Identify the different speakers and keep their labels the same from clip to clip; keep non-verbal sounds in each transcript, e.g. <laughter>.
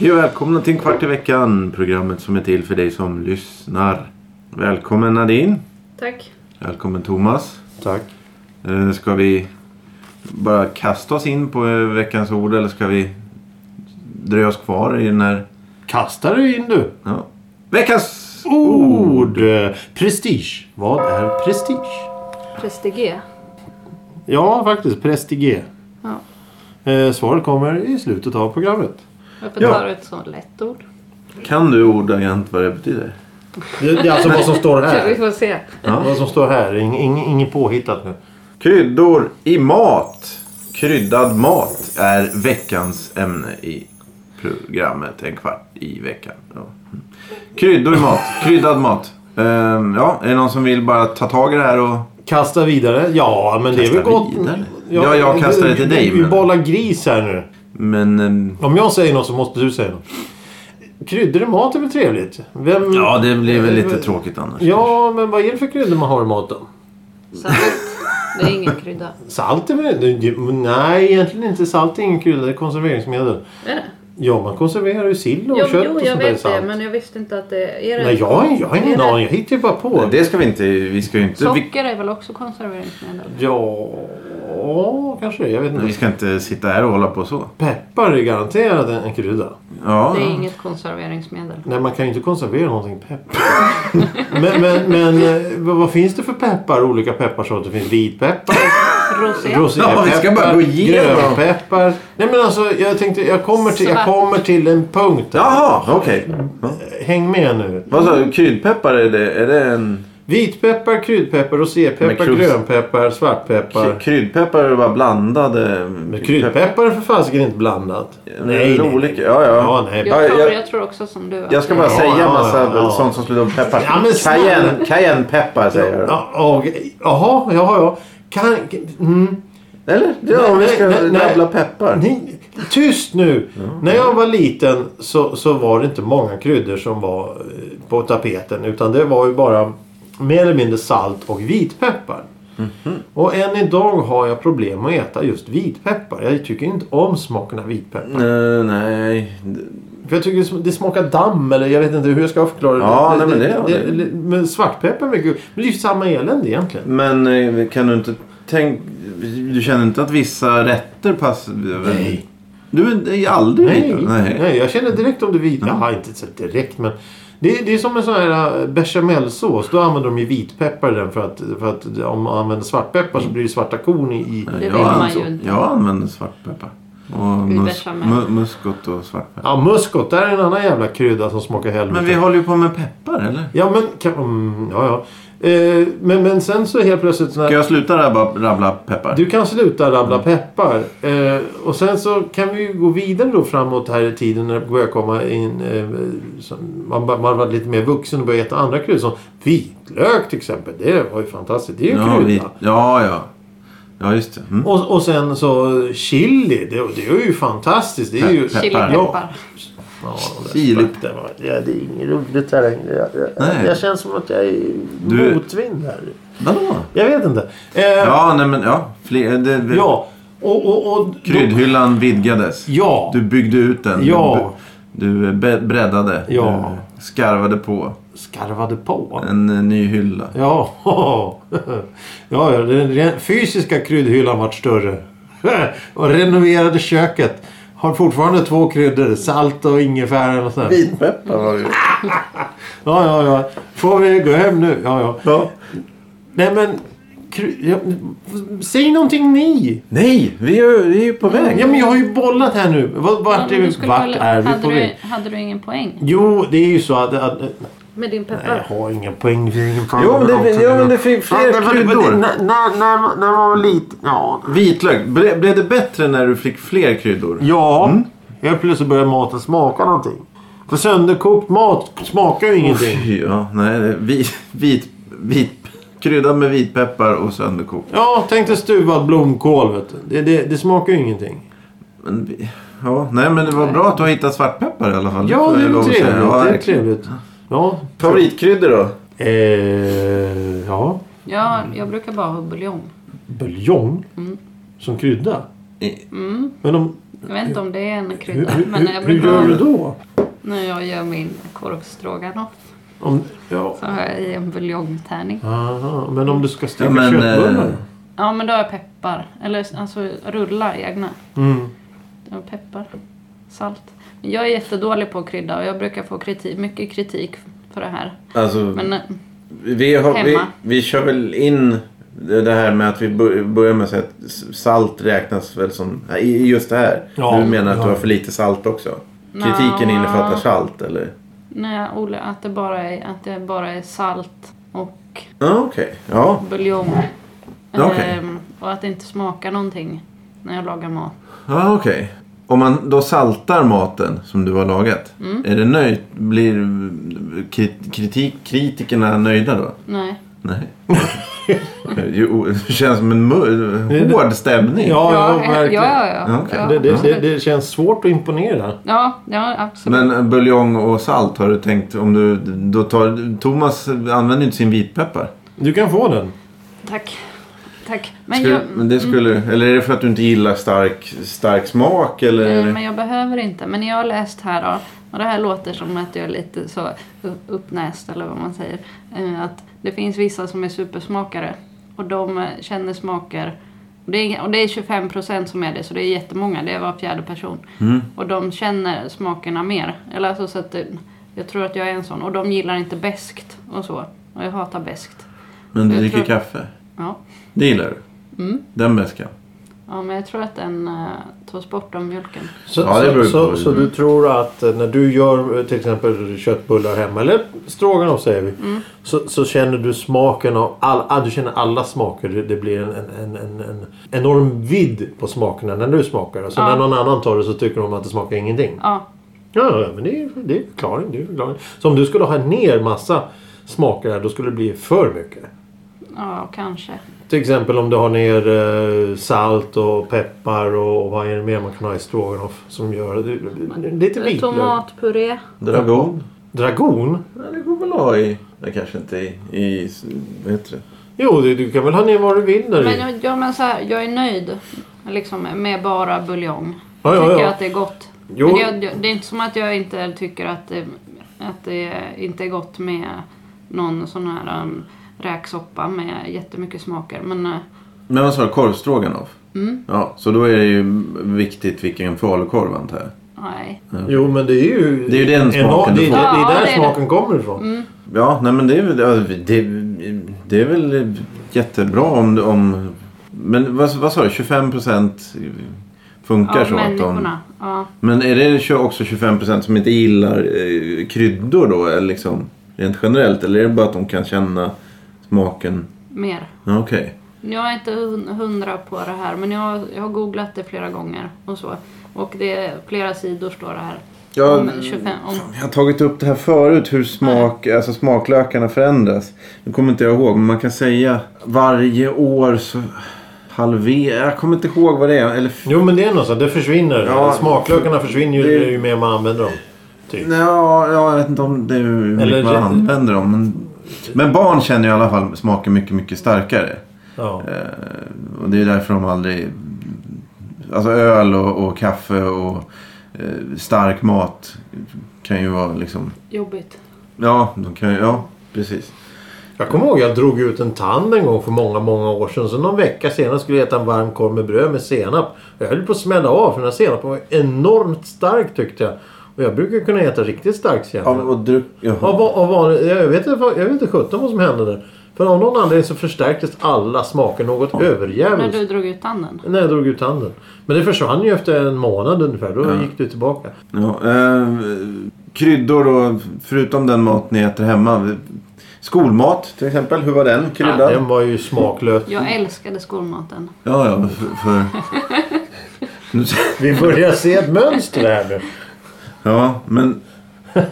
Speaker 1: Hej och välkomna till en kvart i veckan. Programmet som är till för dig som lyssnar. Välkommen Nadine.
Speaker 2: Tack.
Speaker 1: Välkommen Thomas.
Speaker 3: Tack.
Speaker 1: Eh, Ska vi bara kasta oss in på eh, veckans ord eller ska vi dröja oss kvar i den här...
Speaker 3: Kastar du in du?
Speaker 1: Ja. Veckans ord!
Speaker 3: Ord! Prestige. Vad är prestige?
Speaker 2: Prestige.
Speaker 3: Ja, faktiskt. Prestige.
Speaker 2: Ja.
Speaker 3: Eh, Svaret kommer i slutet av programmet.
Speaker 2: Varför
Speaker 3: Ja.
Speaker 2: tar du ett sånt lätt ord?
Speaker 1: Kan du ordagrant vad det betyder?
Speaker 3: Det, det är alltså vad som
Speaker 2: <laughs>
Speaker 3: står
Speaker 2: Vi
Speaker 3: här.
Speaker 2: får se.
Speaker 3: Vad som står här. Ing- ing- Inget påhittat nu.
Speaker 1: Kryddor i mat. Kryddad mat är veckans ämne i programmet En kvart i veckan. Ja. Mm. Kryddor i mat. Kryddad mat. Ehm, ja, är det någon som vill bara ta tag i det här och...
Speaker 3: Kasta vidare. Ja, men det är väl
Speaker 1: Kasta
Speaker 3: gott.
Speaker 1: vidare? Ja, jag
Speaker 3: du-
Speaker 1: kastar det till dig,
Speaker 3: Du
Speaker 1: men-
Speaker 3: bollar gris här nu.
Speaker 1: Men... ehm,
Speaker 3: Om jag säger något så måste du säga något. Kryddor i mat är väl trevligt? Vem...
Speaker 1: Ja, det blir väl lite tråkigt annars.
Speaker 3: Ja, men vad är det för kryddor man har i maten?
Speaker 2: Salt. Det är ingen krydda.
Speaker 3: Salt är väl... det- det- Nej, egentligen inte. Salt är ingen krydda. Det är konserveringsmedel.
Speaker 2: Är det?
Speaker 3: Ja, man konserverar ju sill och
Speaker 2: Jo,
Speaker 3: kött
Speaker 2: jo
Speaker 3: och
Speaker 2: jag
Speaker 3: sånt där i
Speaker 2: vet det.
Speaker 3: salt.
Speaker 2: Men jag visste inte att det... Är det
Speaker 3: Nej, jag, har- jag har
Speaker 2: är
Speaker 3: ingen
Speaker 2: det-
Speaker 3: aning. Jag hittar ju bara på.
Speaker 1: Det ska vi inte... Vi ska ju inte... Vi,
Speaker 2: Socker är väl också konserveringsmedel?
Speaker 3: Ja, kanske det. Jag vet
Speaker 1: vi
Speaker 3: inte.
Speaker 1: ska inte sitta här och hålla på så.
Speaker 3: Peppar är garanterat en, en krydda. Ah.
Speaker 1: Ja.
Speaker 2: Det är inget konserveringsmedel.
Speaker 3: Nej, man kan ju inte konservera någonting peppar. <laughs> men men, men eh, vad, vad finns det för peppar? Olika pepparsorter. Det
Speaker 1: <laughs>
Speaker 3: finns vitpeppar,
Speaker 2: Rosé.
Speaker 1: Ja, vi ska bara
Speaker 3: rosépeppar,
Speaker 1: gå igenom.
Speaker 3: grönpeppar. Nej, men alltså jag tänkte... Jag kommer till, jag
Speaker 2: Svart.
Speaker 3: kommer till en punkt. där.
Speaker 1: Jaha, okej. Ja.
Speaker 3: Häng med nu.
Speaker 1: Vad sa du? Kryddpeppar, är det, är det en...
Speaker 3: Vitpeppar, kryddpeppar,
Speaker 1: Men
Speaker 3: rosépeppar,
Speaker 1: krus- Kry-
Speaker 3: grönpeppar, svartpeppar.
Speaker 1: Kryddpeppar är bara blandade...
Speaker 3: Men kryddpeppar är för fasiken inte blandat.
Speaker 1: Nej, nej. Olika. Ja, ja.
Speaker 3: Ja, nej.
Speaker 2: Jag tror,
Speaker 1: jag-
Speaker 2: jag, tror också som du. att
Speaker 1: Jag ska
Speaker 2: det-
Speaker 1: bara
Speaker 3: Ja,
Speaker 1: säga
Speaker 3: ja,
Speaker 1: massa
Speaker 3: ja.
Speaker 1: sånt som slutar på peppar.
Speaker 3: Ja, men snälla.
Speaker 1: Cayenne- Cayennepeppar säger jag.
Speaker 3: Ja, och- Jaha, jaha, ja. Kan... Mm.
Speaker 1: Eller? Ja,
Speaker 3: Nej,
Speaker 1: om vi ska
Speaker 3: nej, nej, nej.
Speaker 1: rabbla peppar.
Speaker 3: Ni, tyst nu!
Speaker 1: Mm.
Speaker 3: När jag var liten så, så var det inte många kryddor som var eh, på tapeten. Utan det var ju bara mer eller mindre salt och vitpeppar.
Speaker 1: Mhm.
Speaker 3: Och än idag har jag problem att äta just vitpeppar. Jag tycker inte om smaken av vitpeppar.
Speaker 1: Nej, nej.
Speaker 3: För jag tycker det sm- det smakar damm eller jag vet inte hur jag ska förklara det.
Speaker 1: Ja, nej, men det-
Speaker 3: det, det, Men svartpeppar är mycket Men det är ju samma elände egentligen.
Speaker 1: Men eh, kan du inte tänk... Du känner inte att vissa rätter passar?
Speaker 3: Nej.
Speaker 1: Du är aldrig
Speaker 3: Nej,
Speaker 1: lite-
Speaker 3: nej. jag känner direkt om det vita. Ja, inte så direkt men. Det, det är som en sån här äh, bechamelsås. Då använder de ju vitpeppar i den för att, för att om man använder svartpeppar så blir det svarta korn i. i.
Speaker 2: Det
Speaker 1: jag
Speaker 2: vill man
Speaker 1: anså-
Speaker 2: ju inte.
Speaker 1: Jag använder svartpeppar. Och
Speaker 2: I
Speaker 1: mus,
Speaker 2: bechamel.
Speaker 1: mu, muskot och svartpeppar.
Speaker 3: Ja, muskot. Där är en annan jävla krydda som smakar helvete.
Speaker 1: Men vi håller ju på med peppar, eller?
Speaker 3: Ja, men... Kan, mm, ja, ja. Eh, men, men sen så helt plötsligt... När...
Speaker 1: Ska jag sluta rabba, rabbla peppar?
Speaker 3: Du kan sluta
Speaker 1: Mm.
Speaker 3: rabbla peppar. Eh, och sen så kan vi ju gå vidare då framåt här i tiden när det börjar komma in... Eh, som- man, ba- man var lite mer vuxen och började äta andra kryddor som vitlök till exempel. Det var ju fantastiskt. Det är ju
Speaker 1: ja,
Speaker 3: krydda.
Speaker 1: vi, ja, ja. Ja, just det. Mm.
Speaker 3: Och, och sen så chili. Det, det är ju fantastiskt. Det är ju...
Speaker 1: Peppar.
Speaker 2: Chilipeppar.
Speaker 1: Chili.
Speaker 3: Ja, det där svart, det var- Ja, det är inget roligt här längre. Jag,
Speaker 1: Nej.
Speaker 3: jag, jag känns som att jag är i
Speaker 1: Du-
Speaker 3: motvind här.
Speaker 1: Vadå?
Speaker 3: Jag vet inte. Eh, ja.
Speaker 1: Ja, nej men ja. Fler, eh, det, det,
Speaker 3: Och, och, och,
Speaker 1: Kryddhyllan vidgades.
Speaker 3: Ja.
Speaker 1: Du byggde ut den.
Speaker 3: Ja.
Speaker 1: Du, du be- breddade.
Speaker 3: Ja.
Speaker 1: Du skarvade på
Speaker 3: skarvade på.
Speaker 1: en eh, ny hylla.
Speaker 3: Ja, <laughs> ja, ja den ren- fysiska kryddhyllan vart större. <laughs> och renoverade köket. Har fortfarande två kryddor. Salt och ingefära och sånt. där.
Speaker 1: Vitpeppar var det ju.
Speaker 3: Ja, ja, ja. Får vi gå hem nu? Ja, ja.
Speaker 1: Ja.
Speaker 3: Nej, men... kry- Ja, säg någonting ni!
Speaker 1: Nej, vi är, vi är ju på väg.
Speaker 3: Ja, men jag har ju bollat här nu. Vart,
Speaker 2: Ja,
Speaker 3: vart,
Speaker 2: men du
Speaker 3: är,
Speaker 2: skulle
Speaker 3: vart
Speaker 2: väl-
Speaker 3: är vi
Speaker 2: hade,
Speaker 3: på väg?
Speaker 2: du, hade du ingen poäng
Speaker 3: Jo, det är ju så att... att nej,
Speaker 2: med din
Speaker 3: jag
Speaker 2: peppar?
Speaker 3: har ingen poäng. Jag har ingen poäng.
Speaker 1: Jo, men det, jo, men det finns
Speaker 3: Ja,
Speaker 1: fler
Speaker 3: det var- det var-
Speaker 1: kryddor.
Speaker 3: När, när, när, när man var liten... Ja,
Speaker 1: Vitlök. Ble, blev det bättre när du fick fler kryddor?
Speaker 3: Ja.
Speaker 1: Mm.
Speaker 3: Helt plötsligt börjar maten smaka någonting. För sönderkokt mat smakar ju ingenting.
Speaker 1: Fy, ja. Nej, det, vit, vit, vit, kryddad med vitpeppar och sönderkokt.
Speaker 3: Ja, tänk dig stuvad blomkål. Vet du. Det, det, det smakar ju ingenting.
Speaker 1: Men, vi- ja, nej, men det var bra att du har hittat svartpeppar i alla fall.
Speaker 3: Ja,
Speaker 1: får
Speaker 3: det
Speaker 1: jag lov
Speaker 3: är
Speaker 1: att
Speaker 3: trevligt.
Speaker 1: säga. Ja,
Speaker 3: Det är
Speaker 1: verkligen.
Speaker 3: trevligt. Ja.
Speaker 1: Favoritkryddor då?
Speaker 3: Eh, ja.
Speaker 2: Ja, jag brukar bara ha buljong.
Speaker 3: Buljong
Speaker 2: Mm.
Speaker 3: som krydda.
Speaker 1: I-
Speaker 3: Men om,
Speaker 2: Jag vet inte om det är en
Speaker 3: hur,
Speaker 2: Mm. krydda.
Speaker 3: hur,
Speaker 2: Men jag
Speaker 3: hur, hur gör du
Speaker 2: brukar,
Speaker 3: då?
Speaker 2: när jag gör min korvstroganoff
Speaker 3: Om, ja.
Speaker 2: så har jag i en buljongtärning.
Speaker 3: Aha, men om du ska steka
Speaker 1: Ja, men,
Speaker 3: köttbullar?
Speaker 1: eh,
Speaker 2: Ja, men då har jag peppar. Eller alltså rullar egna.
Speaker 3: Mm.
Speaker 2: Ja, peppar. Salt. Men Jag är jättedålig på att krydda och jag brukar få kritik, mycket kritik för det här.
Speaker 1: Alltså,
Speaker 2: Men
Speaker 3: Mm.
Speaker 2: eh,
Speaker 1: vi, har, vi,
Speaker 2: hemma.
Speaker 1: vi kör väl in det det här med att vi bör- börjar med att säga att s- salt räknas väl som... nej, i- i Just det här.
Speaker 3: Ja,
Speaker 1: du menar att
Speaker 3: ja.
Speaker 1: du har för lite salt också? Kritiken
Speaker 2: Nja.
Speaker 1: innefattar salt eller?
Speaker 2: när jag odlar att det bara är, att det bara är salt och
Speaker 1: Ja, okej. Ja.
Speaker 2: buljong.
Speaker 1: Okej.
Speaker 2: Ehm, och att det inte smakar någonting när jag lagar mat.
Speaker 1: Ja, okej. Om man då saltar maten som du har lagat.
Speaker 2: Mm.
Speaker 1: Är det nöjt? Blir kri- kritik, kritikerna nöjda då?
Speaker 2: Nej.
Speaker 1: Nej. <laughs> Jo, det känns som en mör- hård stämning.
Speaker 3: Ja, eh, ja,
Speaker 2: ja,
Speaker 3: verkligen.
Speaker 2: ja, ja.
Speaker 1: Ja, okej.
Speaker 2: ja,
Speaker 3: Det, det, det,
Speaker 2: absolut.
Speaker 3: det känns svårt att imponera.
Speaker 2: ja, ja, absolut.
Speaker 1: Men eh, buljong och salt, har du tänkt om du... Då tar, Thomas använder inte sin vitpeppar.
Speaker 3: Du kan få den.
Speaker 2: Tack. Tack. Men
Speaker 1: Skulle,
Speaker 2: jag, mm.
Speaker 1: men det skulle, Eller är det för att du inte gillar stark, stark smak? Eller?
Speaker 2: Nej, Eh, men jag behöver inte. Men jag har läst här då, och det här låter som att jag är lite så u- uppnäst eller vad man säger. eh, Att det finns vissa som är supersmakare och de eh, känner smaker. Och det är, och det är 25% som är det, så det är jättemånga. Det är var fjärde person. Och de känner smakerna mer. Eller alltså, så att det, jag tror att jag är en sån. Och de gillar inte beskt och så. Och jag hatar beskt.
Speaker 1: Men du
Speaker 2: jag
Speaker 1: dricker
Speaker 2: tror- Mm.
Speaker 1: kaffe?
Speaker 2: Ja.
Speaker 1: Det gillar du? Den beskan?
Speaker 2: ja, men jag tror att den eh, tas bort av mjölken.
Speaker 3: Så,
Speaker 1: Ja, det
Speaker 3: så,
Speaker 1: beror ju
Speaker 3: så,
Speaker 1: på.
Speaker 3: så du tror att eh, när du gör eh, till exempel köttbullar hemma eller stroganoff säger vi. Så, så känner du smaken av all, ah, du känner alla smaker. Det det blir en, en, en, en, en enorm vidd på smakerna när du smakar. det. Så
Speaker 2: Ja.
Speaker 3: när någon annan tar det så tycker de att det smakar ingenting.
Speaker 2: Ja,
Speaker 3: Ja, ja, men det är, det är förklaring. Det är förklaring. Så om du skulle ha ner massa smaker här då skulle det bli för mycket.
Speaker 2: ja kanske.
Speaker 3: Till exempel om du har ner eh, salt och peppar och, och vad är det mer man kan ha i stroganoff som gör det, det, det, lite vitlök.
Speaker 2: Tomatpuré.
Speaker 1: Dragon?
Speaker 3: Dragon?
Speaker 1: Ja, det går väl att ha i... Nej, kanske inte i... i vad heter det?
Speaker 3: Jo, du, du kan väl ha ner vad du vill där
Speaker 2: Men
Speaker 3: i.
Speaker 2: jag, ja, men så här, jag är nöjd liksom, med bara buljong.
Speaker 3: Ja, ja,
Speaker 2: tycker
Speaker 3: ja.
Speaker 2: jag att det är gott.
Speaker 3: Jo.
Speaker 2: Men jag, jag- det är inte som att jag inte tycker att det, att det inte är gott med någon sån här um, räksoppa med jättemycket smaker. Men eh,
Speaker 1: Men vad sa du? Korvstroganoff?
Speaker 2: Mm.
Speaker 1: Ja, så då är det ju viktigt vilken falukorv antar jag.
Speaker 2: nej.
Speaker 3: Jo, men det är ju...
Speaker 1: Det är ju den smaken
Speaker 3: enorm-
Speaker 1: du
Speaker 3: det, det,
Speaker 1: får.
Speaker 3: det är
Speaker 2: Ja,
Speaker 3: där
Speaker 2: det Mm. är
Speaker 3: smaken kommer ifrån.
Speaker 1: Ja, nej men det är väl, ja, det, det är väl jättebra om... du- om men vad, vad sa du? 25 procent funkar
Speaker 2: Ja,
Speaker 1: så att de...
Speaker 2: människorna. Ja.
Speaker 1: Men är det tjo- också 25 procent som inte gillar eh, kryddor då? Eller liksom, rent generellt? Eller är det bara att de kan känna smaken?
Speaker 2: Mer.
Speaker 1: Ja, Okej.
Speaker 2: Jag är inte hun- hundra på det här men jag, jag har googlat det flera gånger och så. Och det är flera sidor står det här.
Speaker 1: Ja,
Speaker 2: om 25, om
Speaker 1: Jag har tagit upp det här förut, hur smak, alltså smaklökarna förändras. Nu kommer inte jag ihåg, men man kan säga varje år så halverar... Jag kommer inte ihåg vad det är. Eller
Speaker 3: Jo, men det är något sånt. Det försvinner.
Speaker 1: Ja.
Speaker 3: Smaklökarna försvinner ju,
Speaker 1: Det-
Speaker 3: ju mer man använder dem. Typ.
Speaker 1: Ja, jag vet inte om det är hur mycket
Speaker 3: Eller-
Speaker 1: man använder dem. Men, men barn känner ju i alla fall smaken mycket, mycket starkare.
Speaker 3: Ja.
Speaker 1: Eh, och det är därför de aldrig... Alltså öl och, och kaffe och eh, stark mat kan ju vara liksom...
Speaker 2: jobbigt.
Speaker 1: Ja, de kan ju... Ja, precis.
Speaker 3: Jag kommer ihåg jag drog ut en tand en gång för många, många år sedan. Så någon vecka senare skulle jag äta en varm korv med bröd med senap. Och Jag höll på att smälla av för den här senapen var enormt stark tyckte jag. Och jag brukar kunna äta riktigt stark senap.
Speaker 1: Av, och dryck...
Speaker 3: Av,
Speaker 1: Jaha.
Speaker 3: va- av vanlig, jag vet inte vad- jag vet inte sjutton vad som hände där. För av någon anledning så förstärktes alla smaker något
Speaker 2: När
Speaker 3: överjävligt.
Speaker 2: du drog ut tanden?
Speaker 3: När jag drog ut tanden. Men det försvann ju efter en månad ungefär. Då gick det tillbaka.
Speaker 1: Ja, eh, kryddor då, förutom den mat ni äter hemma. Skolmat till exempel, hur var den kryddad?
Speaker 3: Den var ju smaklös.
Speaker 2: Jag älskade skolmaten.
Speaker 1: Ja, ja, för...
Speaker 3: <laughs>
Speaker 1: för... Nu säger-
Speaker 3: Vi börjar se ett mönster här nu.
Speaker 1: Ja,
Speaker 3: <laughs>
Speaker 1: men... Ja,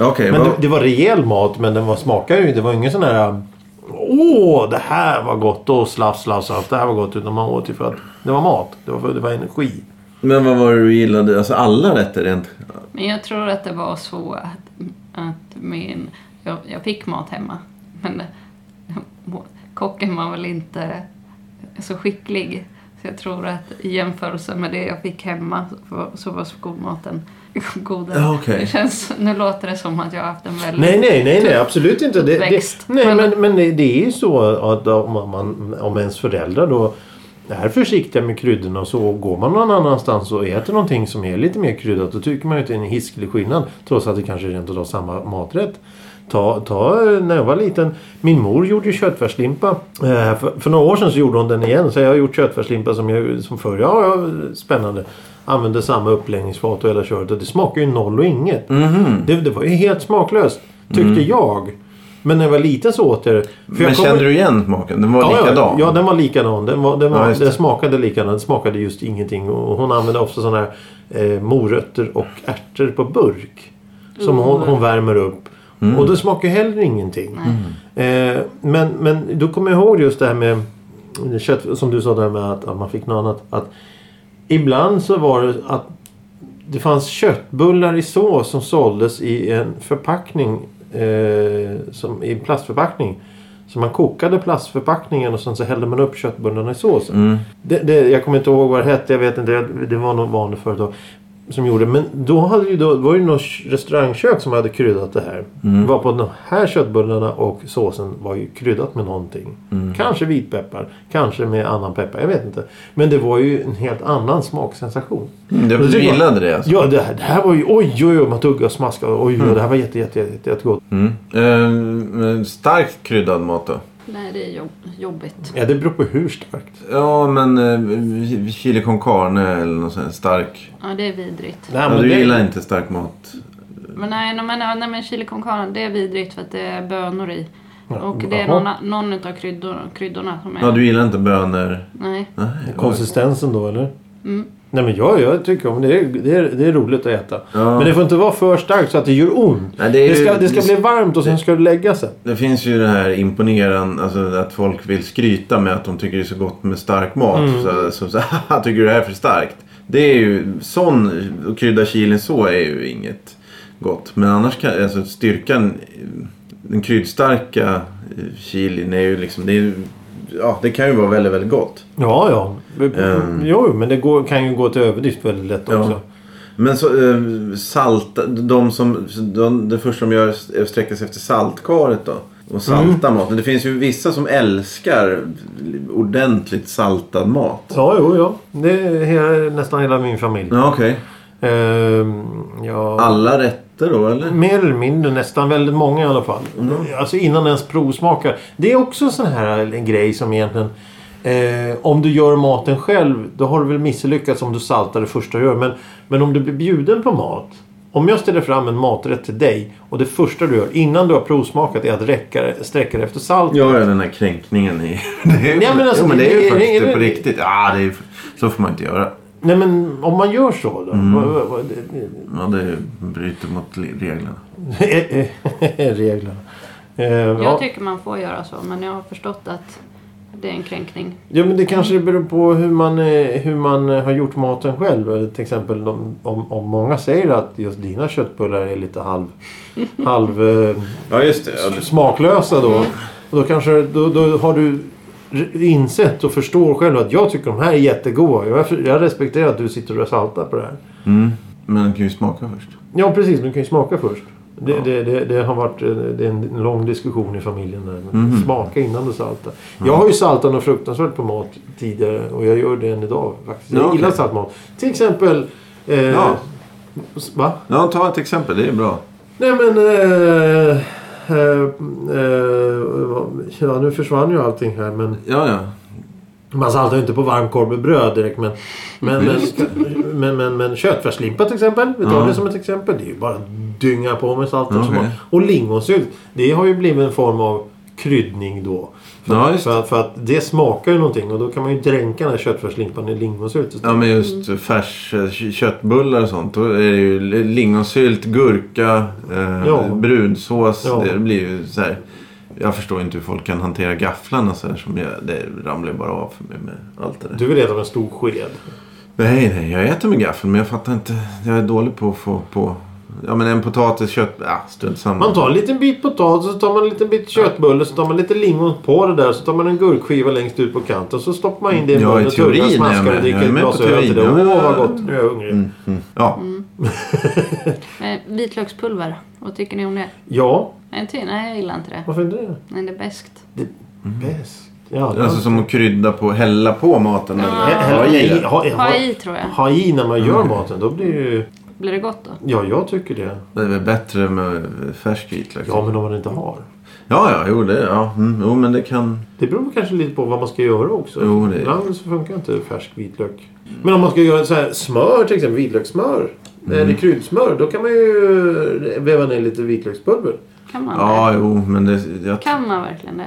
Speaker 1: Okej,
Speaker 3: Men
Speaker 1: vad-
Speaker 3: det, det var rejäl mat men den var, smakade ju. Det var ingen sån här... Åh, det här var gott. Och slaff, slaff, slaff. Det här var gott. Utan man åt ju för att det var mat. Det var, för, det var energi.
Speaker 1: Men vad var det du gillade? Alltså alla rätter rent...
Speaker 2: Men jag tror att det var så att, att min, jag, jag fick mat hemma. Men eh, kocken var väl inte så skicklig. Så jag tror att i jämförelse med det jag fick hemma så var, så var skolmaten godare.
Speaker 1: Ja, okej.
Speaker 2: Det känns, nu låter det som att jag har haft en väldigt...
Speaker 3: Nej, nej, nej, nej absolut inte. Det, det,
Speaker 2: Växt.
Speaker 3: nej,
Speaker 2: Men-
Speaker 3: men, men det, det är ju så att om, man, om ens föräldrar då är försiktiga med kryddorna och så går man någon annanstans och äter någonting som är lite mer kryddat då tycker man ju att det är en hiskelig skillnad trots att det kanske rent av samma maträtt. Ta, ta eh, när jag var liten. Min mor gjorde ju köttfärslimpa. Eh, för, för några år sedan så gjorde hon den igen. Så jag har gjort köttfärslimpa som, jag, som förr. Ja, ja, spännande. Använde samma uppläggningsfat och hela köret. Och Det smakar ju noll och inget. Det, det var ju helt smaklöst. Tyckte jag. Men när jag var liten så åt jag det. För
Speaker 1: Men
Speaker 3: jag kommer-
Speaker 1: kände du igen smaken? Den var
Speaker 3: Ja, ja,
Speaker 1: likadan?
Speaker 3: Ja, den var likadan. Den, var, den, var,
Speaker 1: Ja, just det.
Speaker 3: den smakade likadan. Den smakade just ingenting. Och hon använde också sådana här eh, morötter och ärtor på burk. Som hon, hon värmer upp.
Speaker 1: Mm.
Speaker 3: Och det smakar heller ingenting. Eh, men, men då kommer jag ihåg just det här med kött, som du sa där med att, att man fick något annat. Att ibland så var det att det fanns köttbullar i sås som såldes i en förpackning. Eh, som, I en plastförpackning. Så man kokade plastförpackningen och sen så hällde man upp köttbullarna i såsen. Det, det, jag kommer inte ihåg vad det hette. Jag vet inte. jag- Det var något vanligt företag. Som gjorde, men då, hade ju då var det ju något restaurangkök som hade kryddat det här. Det var på de här köttbullarna och såsen var ju kryddat med någonting. Kanske vitpeppar, kanske med annan peppar. Jag vet inte. Men det var ju en helt annan smaksensation.
Speaker 1: Mm, det-
Speaker 3: Och då
Speaker 1: Du
Speaker 3: tycker man-
Speaker 1: gillade det alltså?
Speaker 3: Ja, Mm. det här, det här var ju oj, oj, oj, man tuggade och smaskade. Oj, oj, det här var jätte, jätte, jätte, jättegott.
Speaker 1: Mm. Eh, starkt kryddad mat då?
Speaker 2: Nej, det är jobb, jobbigt.
Speaker 3: Ja, det beror på hur starkt.
Speaker 1: Ja, men eh, chili con carne eller något sånt. Stark.
Speaker 2: Ja, det är vidrigt.
Speaker 3: Nej,
Speaker 1: Ja,
Speaker 3: men
Speaker 1: du
Speaker 3: det-
Speaker 1: gillar inte stark mat?
Speaker 2: Men nej, nej, men, nej, men chili con carne det är vidrigt för att det är bönor i.
Speaker 3: Ja,
Speaker 2: Och det är
Speaker 3: jaha.
Speaker 2: någon, någon av kryddorna, kryddorna som är...
Speaker 1: Ja, du gillar inte bönor?
Speaker 2: Nej.
Speaker 1: Nej,
Speaker 3: Konsistensen då, eller? Nej, men jag, jag tycker om det. Det är, det, är, det är roligt att äta.
Speaker 1: Ja.
Speaker 3: Men det får inte vara för starkt så att det gör ont.
Speaker 1: Nej, det är ju-
Speaker 3: ska, det ska
Speaker 1: det-
Speaker 3: bli varmt och sen ska det lägga sig.
Speaker 1: Det finns ju det här imponerande, alltså att folk vill skryta med att de tycker det är så gott med stark mat. Så, så, <laughs> så "Haha, tycker du det här är för starkt? Det är ju, sån, och krydda chilin så är ju inget gott. Men annars kan, alltså styrkan, den kryddstarka eh, chilin är ju liksom, det är ju, ja det kan ju vara väldigt, väldigt gott.
Speaker 3: Ja, ja. Eh, Jo, men det går, kan ju gå till överdrift väldigt lätt
Speaker 1: Ja.
Speaker 3: också.
Speaker 1: Men så, eh, salta, de som, de, det första de gör är att sträcka sig efter saltkaret då. Och salta maten. Det finns ju vissa som älskar ordentligt saltad mat.
Speaker 3: Ja, jo, ja. Det är hela, nästan hela min familj.
Speaker 1: Ja, okej.
Speaker 3: Ehm, ja.
Speaker 1: Alla rätter då eller?
Speaker 3: Mer eller mindre, nästan väldigt många i alla fall. Alltså innan ens provsmakar. Det är också en sån här en grej som egentligen... Eh, om du gör maten själv, då har du väl misslyckats om du saltar det första du gör. Men, men om du blir bjuden på mat. Om jag ställer fram en maträtt till dig och det första du gör innan du har provsmakat är att räcka, sträcka dig efter salt.
Speaker 1: Ja, ja, den här kränkningen i... <laughs> Det är ju,
Speaker 3: Ja, men alltså,
Speaker 1: jo, men det är
Speaker 3: det-
Speaker 1: ju faktiskt
Speaker 3: det-
Speaker 1: på
Speaker 3: det-
Speaker 1: riktigt. Ja, det är ju, så får man inte göra.
Speaker 3: Nej men om man gör så då. vad- vad- vad- det-
Speaker 1: Ja, det bryter mot le- reglerna.
Speaker 3: det- <laughs> Reglerna. Eh, ja.
Speaker 2: Jag tycker man får göra så, men jag har förstått att det är en kränkning.
Speaker 3: Ja men det kanske beror på hur man, eh, hur man eh, har gjort maten själv. Eh, Till exempel om, om, om många säger att just dina köttbullar är
Speaker 1: <laughs>
Speaker 3: lite halv, halv eh,
Speaker 1: Ja, just det. Mm. Ja, det-
Speaker 3: smaklösa då. Och då kanske då, då har du r- insett och förstår själv att jag tycker de här är jättegoda. Jag, jag respekterar att du sitter och saltar på det här.
Speaker 1: Men den kan ju smaka först.
Speaker 3: Ja precis, men du kan ju smaka först. Det, det, det, det har varit eh, det är en lång diskussion i familjen. Där. Men
Speaker 1: Mhm.
Speaker 3: Smaka innan du saltar. Jag har ju saltat något fruktansvärt på mat tidigare och jag gör det än idag faktiskt.
Speaker 1: Ja,
Speaker 3: Jag
Speaker 1: okej.
Speaker 3: gillar saltmat. Till exempel... Eh,
Speaker 1: Ja.
Speaker 3: s- Va?
Speaker 1: Ja, ta ett exempel. Det är bra.
Speaker 3: Nej men... Eh, eh, eh, vad- ja, nu försvann ju allting här men...
Speaker 1: Ja, ja.
Speaker 3: Man saltar ju inte på varm korv med bröd direkt men... Men, men, men, men, men köttfärslimpa till exempel. Vi tar
Speaker 1: Mm. Ja.
Speaker 3: det som ett exempel. Det är ju bara att dynga på med salt och
Speaker 1: Okej.
Speaker 3: smak. Och lingonsylt. Det har ju blivit en form av kryddning då.
Speaker 1: Ja, just
Speaker 3: För, att- för att det smakar ju någonting och då kan man ju dränka den här köttfärslimpan i lingonsylt istället.
Speaker 1: Ja men just färs eh, kö- köttbullar och sånt. Då är det ju li- lingonsylt, gurka, eh,
Speaker 3: Ja.
Speaker 1: brunsås.
Speaker 3: Ja.
Speaker 1: Det blir ju så här. Jag förstår inte hur folk kan hantera gafflarna så här. Som jag, det ramlar ju bara av för mig med allt det där.
Speaker 3: Du vill äta med en stor sked.
Speaker 1: Nej, nej, jag äter med gaffel men jag fattar inte. Jag är dålig på att få på... Ja, men en potatis, kött... Ja, strunt samma.
Speaker 3: Man tar en liten bit potatis, så tar man en liten bit köttbulle, så tar man lite lingon på det där, så tar man en gurkskiva längst ut på kanten, så stoppar man in det i
Speaker 1: Ja, i
Speaker 3: munnen,
Speaker 1: teorin
Speaker 3: tuggar,
Speaker 1: är jag
Speaker 3: smaskar
Speaker 1: med.
Speaker 3: och dricker
Speaker 1: Jag är
Speaker 3: ett
Speaker 1: med
Speaker 3: glas
Speaker 1: på
Speaker 3: öl till det.
Speaker 1: teorin. Ja, Mm.
Speaker 3: Åh,
Speaker 1: men-
Speaker 3: vad gott. Nu är jag hungrig.
Speaker 1: Ja.
Speaker 2: Eh, vitlökspulver, vad tycker ni om det?
Speaker 3: Ja,
Speaker 2: Nej, ty, nej, jag gillar inte det.
Speaker 3: varför inte det?
Speaker 2: Nej, det är bäst.
Speaker 3: Bäst. Ja, det-
Speaker 1: Mm. Alltså som att krydda på, hälla på maten
Speaker 3: Hä-
Speaker 1: eller
Speaker 3: hä-
Speaker 1: ha i det. Mm.
Speaker 3: ha- ha-
Speaker 2: Ha i tror jag.
Speaker 3: Ha i när man gör maten. Då blir det ju...
Speaker 2: Blir det gott då?
Speaker 3: Ja, jag tycker det.
Speaker 1: Det är väl bättre med färsk vitlök.
Speaker 3: Ja,
Speaker 1: Ja,
Speaker 3: men om man inte har.
Speaker 1: ja, jo det, ja. Mm, jo men det kan...
Speaker 3: Det beror kanske lite på vad man ska göra också.
Speaker 1: Jo, det-
Speaker 3: Ibland så funkar inte färsk vitlök. Men om man ska göra så här smör till exempel, vitlökssmör.
Speaker 1: Mm.
Speaker 3: Eller kryddsmör. Då kan man ju väva ner lite vitlökspulver.
Speaker 2: Kan man det?
Speaker 1: Ja, jo men det... Jag,
Speaker 2: Kan man verkligen det?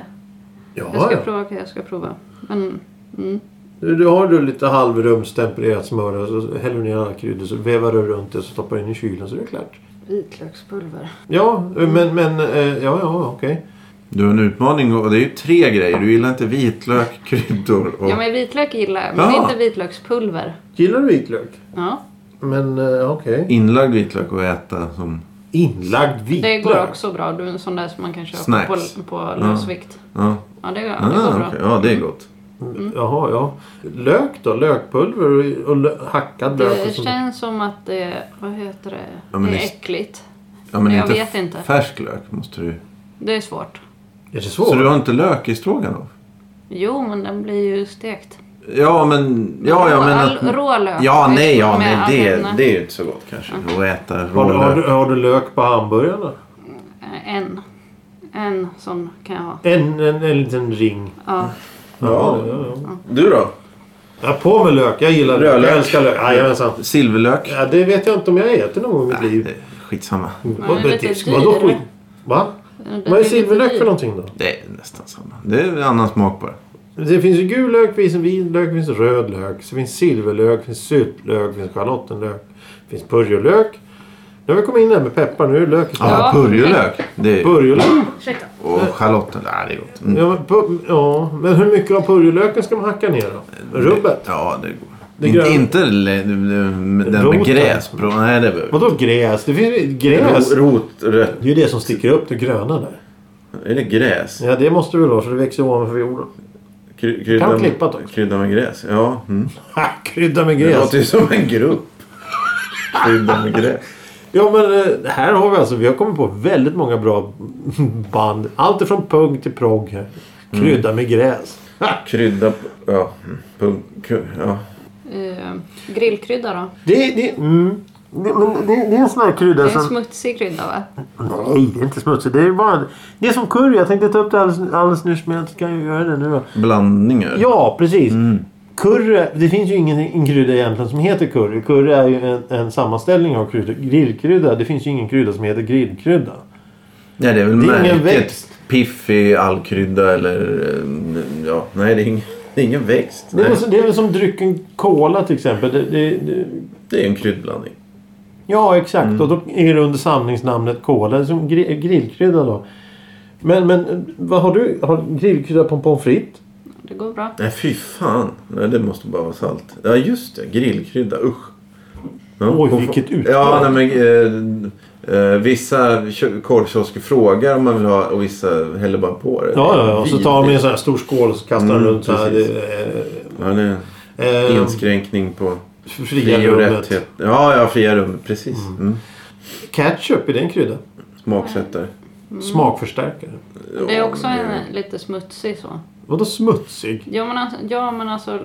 Speaker 3: Ja,
Speaker 2: Jag ska
Speaker 3: ja.
Speaker 2: prova, jag ska prova. Men, mm.
Speaker 3: Du, du har du lite halvrumstempererat smör och så häller du ner alla kryddor så vevar du runt det så stoppar du in i kylen så är det klart.
Speaker 2: Vitlökspulver.
Speaker 3: Ja, men, men eh, ja, ja, okej.
Speaker 1: du har en utmaning och det är ju tre grejer. Du gillar inte vitlök, <laughs> kryddor och...
Speaker 2: Ja, men vitlök gillar jag, men
Speaker 1: Ja.
Speaker 2: inte vitlökspulver.
Speaker 3: Gillar du vitlök?
Speaker 2: Ja,
Speaker 3: Men eh, okej.
Speaker 1: Inlagd vitlök och äta som...
Speaker 3: Inlagd vitlök?
Speaker 2: det går också bra. Du är en sån där som man kan köpa på,
Speaker 1: Snacks.
Speaker 2: på lösvikt.
Speaker 1: Ja,
Speaker 2: Ja, det,
Speaker 1: ah,
Speaker 2: det går bra.
Speaker 1: okej. ja det är gott.
Speaker 2: Mm.
Speaker 3: Jaha, ja. Lök då? Lökpulver och, och lö- hackad lök?
Speaker 2: Det
Speaker 3: Och sånt.
Speaker 2: känns som att det, vad heter det,
Speaker 1: Ja, men
Speaker 2: det
Speaker 1: det-
Speaker 2: är äckligt.
Speaker 1: Ja, men
Speaker 2: Jag
Speaker 1: inte
Speaker 2: vet inte.
Speaker 1: Färsk lök måste du...
Speaker 2: Det är svårt.
Speaker 3: Är det
Speaker 1: Så
Speaker 3: svårt?
Speaker 1: du har inte lök i stroganoff?
Speaker 2: Jo, men den blir ju stekt.
Speaker 1: Ja, men... Ja, ja, men...
Speaker 2: All- rå lök.
Speaker 1: Ja, nej, ja,
Speaker 2: Med
Speaker 1: nej, det,
Speaker 2: all-
Speaker 1: det är ju inte så gott kanske. Att äta
Speaker 3: Har, du- har,
Speaker 1: rålök.
Speaker 3: du, har du lök på hamburgarna?
Speaker 2: eh, En. En sån kan jag ha.
Speaker 3: En, en, en liten ring.
Speaker 2: Ja.
Speaker 1: Ja,
Speaker 3: ja, ja.
Speaker 1: Du då?
Speaker 3: ja. På med lök. Jag gillar lök.
Speaker 1: Rödlök.
Speaker 3: Jag älskar lök. Jajamensan.
Speaker 1: Silverlök?
Speaker 3: Ja, det vet jag inte om jag äter någon gång i mitt
Speaker 1: Nej,
Speaker 3: liv.
Speaker 1: det är skitsamma.
Speaker 3: Vad-
Speaker 2: men lite
Speaker 3: det- Vadå
Speaker 2: dyr.
Speaker 3: skit? Va? Vad är silverlök för någonting då?
Speaker 1: Det är nästan samma. Det är en annan smak bara.
Speaker 3: Det finns ju gul lök, finns en vit lök, finns röd lök, så finns silverlök, finns syltlök, finns schalottenlök, finns purjolök. Nu har vi kommit in där med peppar. Nu är löken
Speaker 1: Ja,
Speaker 3: ja.
Speaker 2: Ja.
Speaker 1: purjolök. Det är,
Speaker 3: Purjolök.
Speaker 2: Ursäkta.
Speaker 1: och schalotten. Nej, det är gott. Mm.
Speaker 3: Ja men, pu- ja, men hur mycket av purjolöken ska man hacka ner då? Rubbet?
Speaker 1: Ja, det är gott.
Speaker 3: Det är
Speaker 1: inte,
Speaker 3: grönt.
Speaker 1: inte le- den
Speaker 3: Roten.
Speaker 1: med gräs. på. Nej, det behöver
Speaker 3: Vadå gräs? Det finns ju gräs.
Speaker 1: Ro- Rotrött.
Speaker 3: Det är ju det som sticker upp, det gröna där.
Speaker 1: Är det gräs?
Speaker 3: Ja, det måste du väl ha för det växer ovanför jorden.
Speaker 1: Kry-
Speaker 3: Kan
Speaker 1: Krydda
Speaker 3: klippa då.
Speaker 1: med, krydda med gräs. Ja. Mm.
Speaker 3: Ha, krydda med
Speaker 1: Det
Speaker 3: gräs.
Speaker 1: låter ju som en grupp. Krydda med gräs.
Speaker 3: Ja, men eh, här har vi alltså, vi har kommit på väldigt många bra band. Allt ifrån punk till prog här. Krydda med gräs. Ha,
Speaker 1: Krydda... på- Ja. mm, Punk... ku- Ja.
Speaker 2: Eh, grillkrydda då?
Speaker 3: Det, det, mm, det, men det, det är en sån här
Speaker 2: Det
Speaker 3: krydda
Speaker 2: är en
Speaker 3: som...
Speaker 2: smutsig krydda va?
Speaker 3: Nej, det är inte smutsigt. Det är bara... Det är som curry. Jag tänkte ta upp det alldeles, alldeles nyss men jag kan ju göra det nu då.
Speaker 1: Blandningar.
Speaker 3: Ja, precis. Curry, det finns ju ingen en krydda egentligen som heter curry. Curry är ju en, en sammanställning av kryddor. Grillkrydda, det finns ju ingen krydda som heter grillkrydda.
Speaker 1: Nej, det är väl
Speaker 3: Det är ingen
Speaker 1: märket.
Speaker 3: växt.
Speaker 1: Piffig allkrydda eller... eh, Ja, nej det är ingen, det är ingen växt.
Speaker 3: Det är,
Speaker 1: Nej,
Speaker 3: väl, så- det är väl som drycken cola till exempel. Det, det, det,
Speaker 1: det är en kryddblandning.
Speaker 3: ja, exakt. Och då är det under samlingsnamnet cola. Det är Som gri, grillkrydda då. Men, men vad har du? Har du grillkrydda på en pommes frites?
Speaker 2: Det går bra.
Speaker 1: Nej, fy fan. Nej, det måste bara vara salt. Ja, just det. Grillkrydda. Usch. Ja,
Speaker 3: Oj,
Speaker 1: och-
Speaker 3: vilket uttal.
Speaker 1: Ja, nej, men, eh, eh, vissa kö- korvkiosker frågar om man vill ha och vissa häller bara på det.
Speaker 3: Ja, ja, ja. Och så tar de en
Speaker 1: Vidrigt.
Speaker 3: sån här stor skål och så kastar de
Speaker 1: Mm,
Speaker 3: runt så här.
Speaker 1: precis. Ja,
Speaker 3: det-
Speaker 1: det
Speaker 3: eh,
Speaker 1: är
Speaker 3: eh,
Speaker 1: inskränkning på
Speaker 3: Fria
Speaker 1: fri och
Speaker 3: rummet.
Speaker 1: rättighet. Ja, ja, fria rummet. Precis. Mm.
Speaker 3: Ketchup, är det en krydda?
Speaker 1: Smaksättare.
Speaker 3: Smakförstärkare.
Speaker 2: Det är också en lite smutsig så.
Speaker 3: Vadå smutsig?
Speaker 2: Ja men alltså, ja, men alltså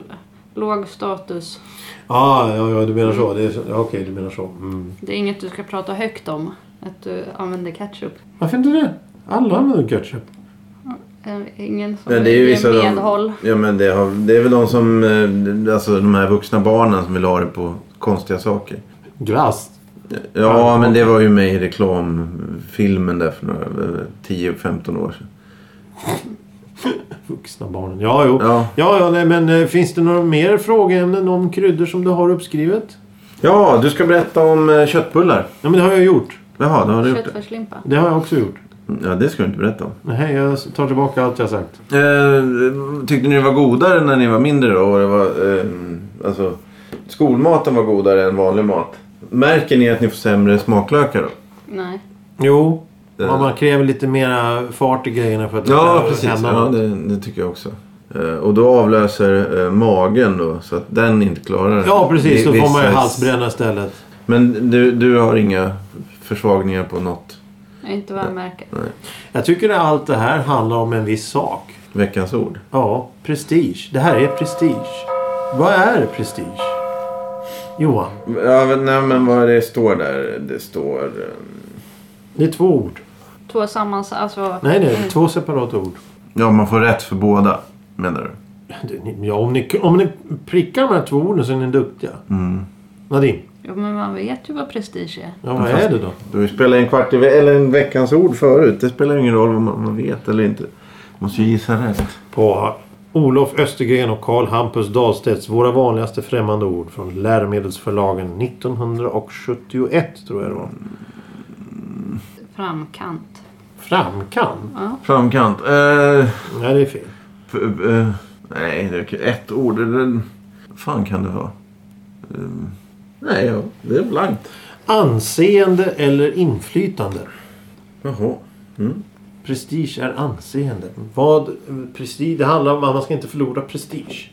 Speaker 2: låg status.
Speaker 3: Ah, ja, ja, du menar så. Det är, så- ja, okej, du menar så. Mm.
Speaker 2: Det är inget du ska prata högt om. Att du använder ketchup.
Speaker 3: Varför inte det? Alla använder ketchup.
Speaker 2: Eh, Ingen som
Speaker 1: Men det är ju
Speaker 2: ger
Speaker 1: vissa de-
Speaker 2: medhåll.
Speaker 1: Ja men det, har, det är väl de som, eh, alltså de här vuxna barnen som vill ha det på konstiga saker.
Speaker 3: Glass.
Speaker 1: Ja men det var ju med i reklamfilmen där för några, eh, 10-15 år sedan.
Speaker 3: Vuxna barnen. Ja, jo.
Speaker 1: Ja.
Speaker 3: ja, ja nej, men eh, finns det några mer frågeämnen om kryddor som du har uppskrivet?
Speaker 1: Ja, du ska berätta om eh, köttbullar.
Speaker 3: Ja, men det har jag gjort.
Speaker 1: Jaha, då har du gjort det.
Speaker 2: Köttfärslimpa.
Speaker 3: Det har jag också gjort.
Speaker 1: Ja, det ska du inte berätta om.
Speaker 3: Nej, jag tar tillbaka allt jag sagt.
Speaker 1: Eh, tyckte ni det var godare när ni var mindre då? Och det var, eh, alltså, skolmaten var godare än vanlig mat. Märker ni att ni får sämre smaklökar då?
Speaker 2: Nej.
Speaker 3: Jo.
Speaker 1: Eh.
Speaker 3: Ja, man kräver lite mera fart i grejerna för att det
Speaker 1: Ja,
Speaker 3: ska
Speaker 1: precis.
Speaker 3: hända
Speaker 1: Ja,
Speaker 3: något.
Speaker 1: det, det tycker jag också. Eh, Och då avlöser eh, magen då, så att den inte klarar det.
Speaker 3: ja, precis. Då
Speaker 1: Vi-
Speaker 3: får man ju
Speaker 1: vissa-
Speaker 3: halsbränna istället.
Speaker 1: Men du, du har inga försvagningar på något?
Speaker 2: Inte vad jag märker.
Speaker 3: Jag tycker att allt det här handlar om en viss sak.
Speaker 1: Veckans ord?
Speaker 3: Ja, prestige. Det här är prestige. Vad är prestige? Johan,
Speaker 1: Ja, men- nej, men vad det står där? Det står... eh,
Speaker 3: det är två ord.
Speaker 2: Två sammans... Alltså...
Speaker 3: Nej, nej, det är två separata ord.
Speaker 1: Ja, man får rätt för båda, menar du?
Speaker 3: Det- ni- Ja, om, ni, om ni prickar de här två orden så är ni duktiga.
Speaker 1: Mm.
Speaker 3: Nadine,
Speaker 2: Jo, men man vet ju vad prestige är.
Speaker 3: ja, vad är det då?
Speaker 1: Du spelar en kvart i ve- eller en veckans ord förut. Det spelar ingen roll om man, man vet eller inte. Måste ju gissa rätt.
Speaker 3: På Olof Östergren och Carl Hampus Dahlstedts Våra vanligaste främmande ord från läromedelsförlagen 1971 tror jag det var.
Speaker 2: Framkant.
Speaker 3: Framkant?
Speaker 1: Framkant. Eh,
Speaker 3: Nej, det är fel.
Speaker 1: f- eh, nej, det är ett ord. Eller, vad fan kan det vara? Eh, nej, ja, det är blankt.
Speaker 3: Anseende eller inflytande?
Speaker 1: Jaha. Mm.
Speaker 3: Prestige är anseende. Vad, prestige, det handlar om att man ska inte förlora prestige.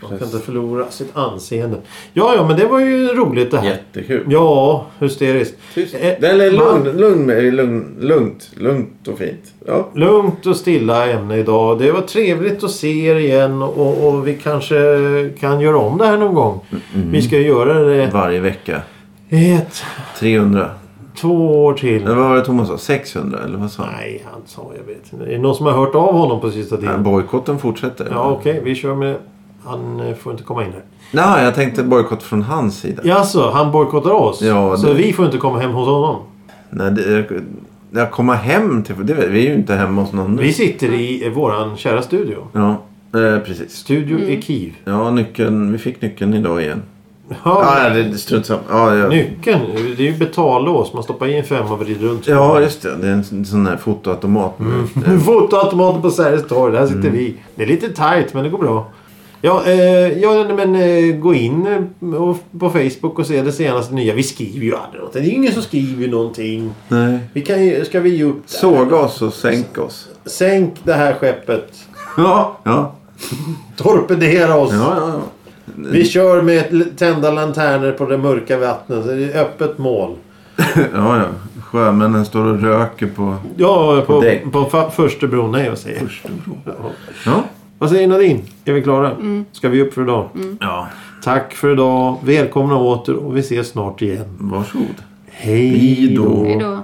Speaker 3: Man ska
Speaker 1: Precis.
Speaker 3: inte förlora sitt anseende. Ja, ja, men det var ju roligt det här.
Speaker 1: Jättekul.
Speaker 3: Ja, hysteriskt.
Speaker 1: Tyst.
Speaker 3: Eh,
Speaker 1: Eller
Speaker 3: man-
Speaker 1: lugn, lugn, med- lugn, lugnt, lugnt och fint. Ja.
Speaker 3: Lugnt och stilla ämne idag. Det var trevligt att se er igen och, och vi kanske kan göra om det här någon gång.
Speaker 1: Mm.
Speaker 3: Vi ska göra det
Speaker 1: Varje vecka.
Speaker 3: ett,
Speaker 1: 300.
Speaker 3: två år till.
Speaker 1: Eller vad var det Thomas sa? 600? Eller vad sa han?
Speaker 3: Nej, han sa jag vet inte. Är det någon som har hört av honom på sista
Speaker 1: Nej,
Speaker 3: tiden?
Speaker 1: Bojkotten fortsätter.
Speaker 3: Ja, okej. vi kör med det. Han eh, får inte komma in här.
Speaker 1: Nej, jag tänkte bojkott från hans sida.
Speaker 3: Jaså, han bojkottar oss?
Speaker 1: Ja, det-
Speaker 3: Så vi får inte komma hem hos honom?
Speaker 1: Nej, det, jag, jag kommer hem till... Det, vet- vi är ju inte hemma hos någon nu.
Speaker 3: Vi sitter i eh, våran kära studio.
Speaker 1: Ja, eh, precis.
Speaker 3: Studio i Kiev.
Speaker 1: Ja, nyckeln. Vi fick nyckeln idag igen.
Speaker 3: Ja,
Speaker 1: Ja, det, det strunt samma. Ja, ja.
Speaker 3: nyckeln. Det är ju betallås. Man stoppar i en femma och vrider runt.
Speaker 1: ja, just det. Det är en sån sån här fotoautomat.
Speaker 3: Nu Fotoautomaten på Sergels torg. Där sitter vi. Det är lite tajt men det går bra. Ja, eh, ja nej, men eh, gå in eh, och- på Facebook och se det senaste nya. Vi skriver ju aldrig något. Det är ju ingen som skriver någonting.
Speaker 1: Nej.
Speaker 3: Vi kan ju, ska vi ge upp det?
Speaker 1: Såga oss och sänk oss.
Speaker 3: Sänk det här skeppet.
Speaker 1: Ja, ja.
Speaker 3: Torpedera oss.
Speaker 1: ja, ja, ja.
Speaker 3: Vi kör med l- tända lanterner på det mörka vattnet. Det är öppet mål.
Speaker 1: ja, ja. Sjömännen står och röker på...
Speaker 3: Ja, på,
Speaker 1: däck.
Speaker 3: på, fa- första bron. Nej, jag säger.
Speaker 1: Ja.
Speaker 3: Vad säger Nadine? Är vi klara? Ska vi upp för idag?
Speaker 1: ja.
Speaker 3: Tack för idag. Välkomna åter och vi ses snart igen.
Speaker 1: Varsågod.
Speaker 3: Hej
Speaker 1: då.
Speaker 3: då.
Speaker 2: Hej då.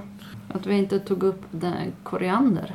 Speaker 2: Att vi inte tog upp den här koriander.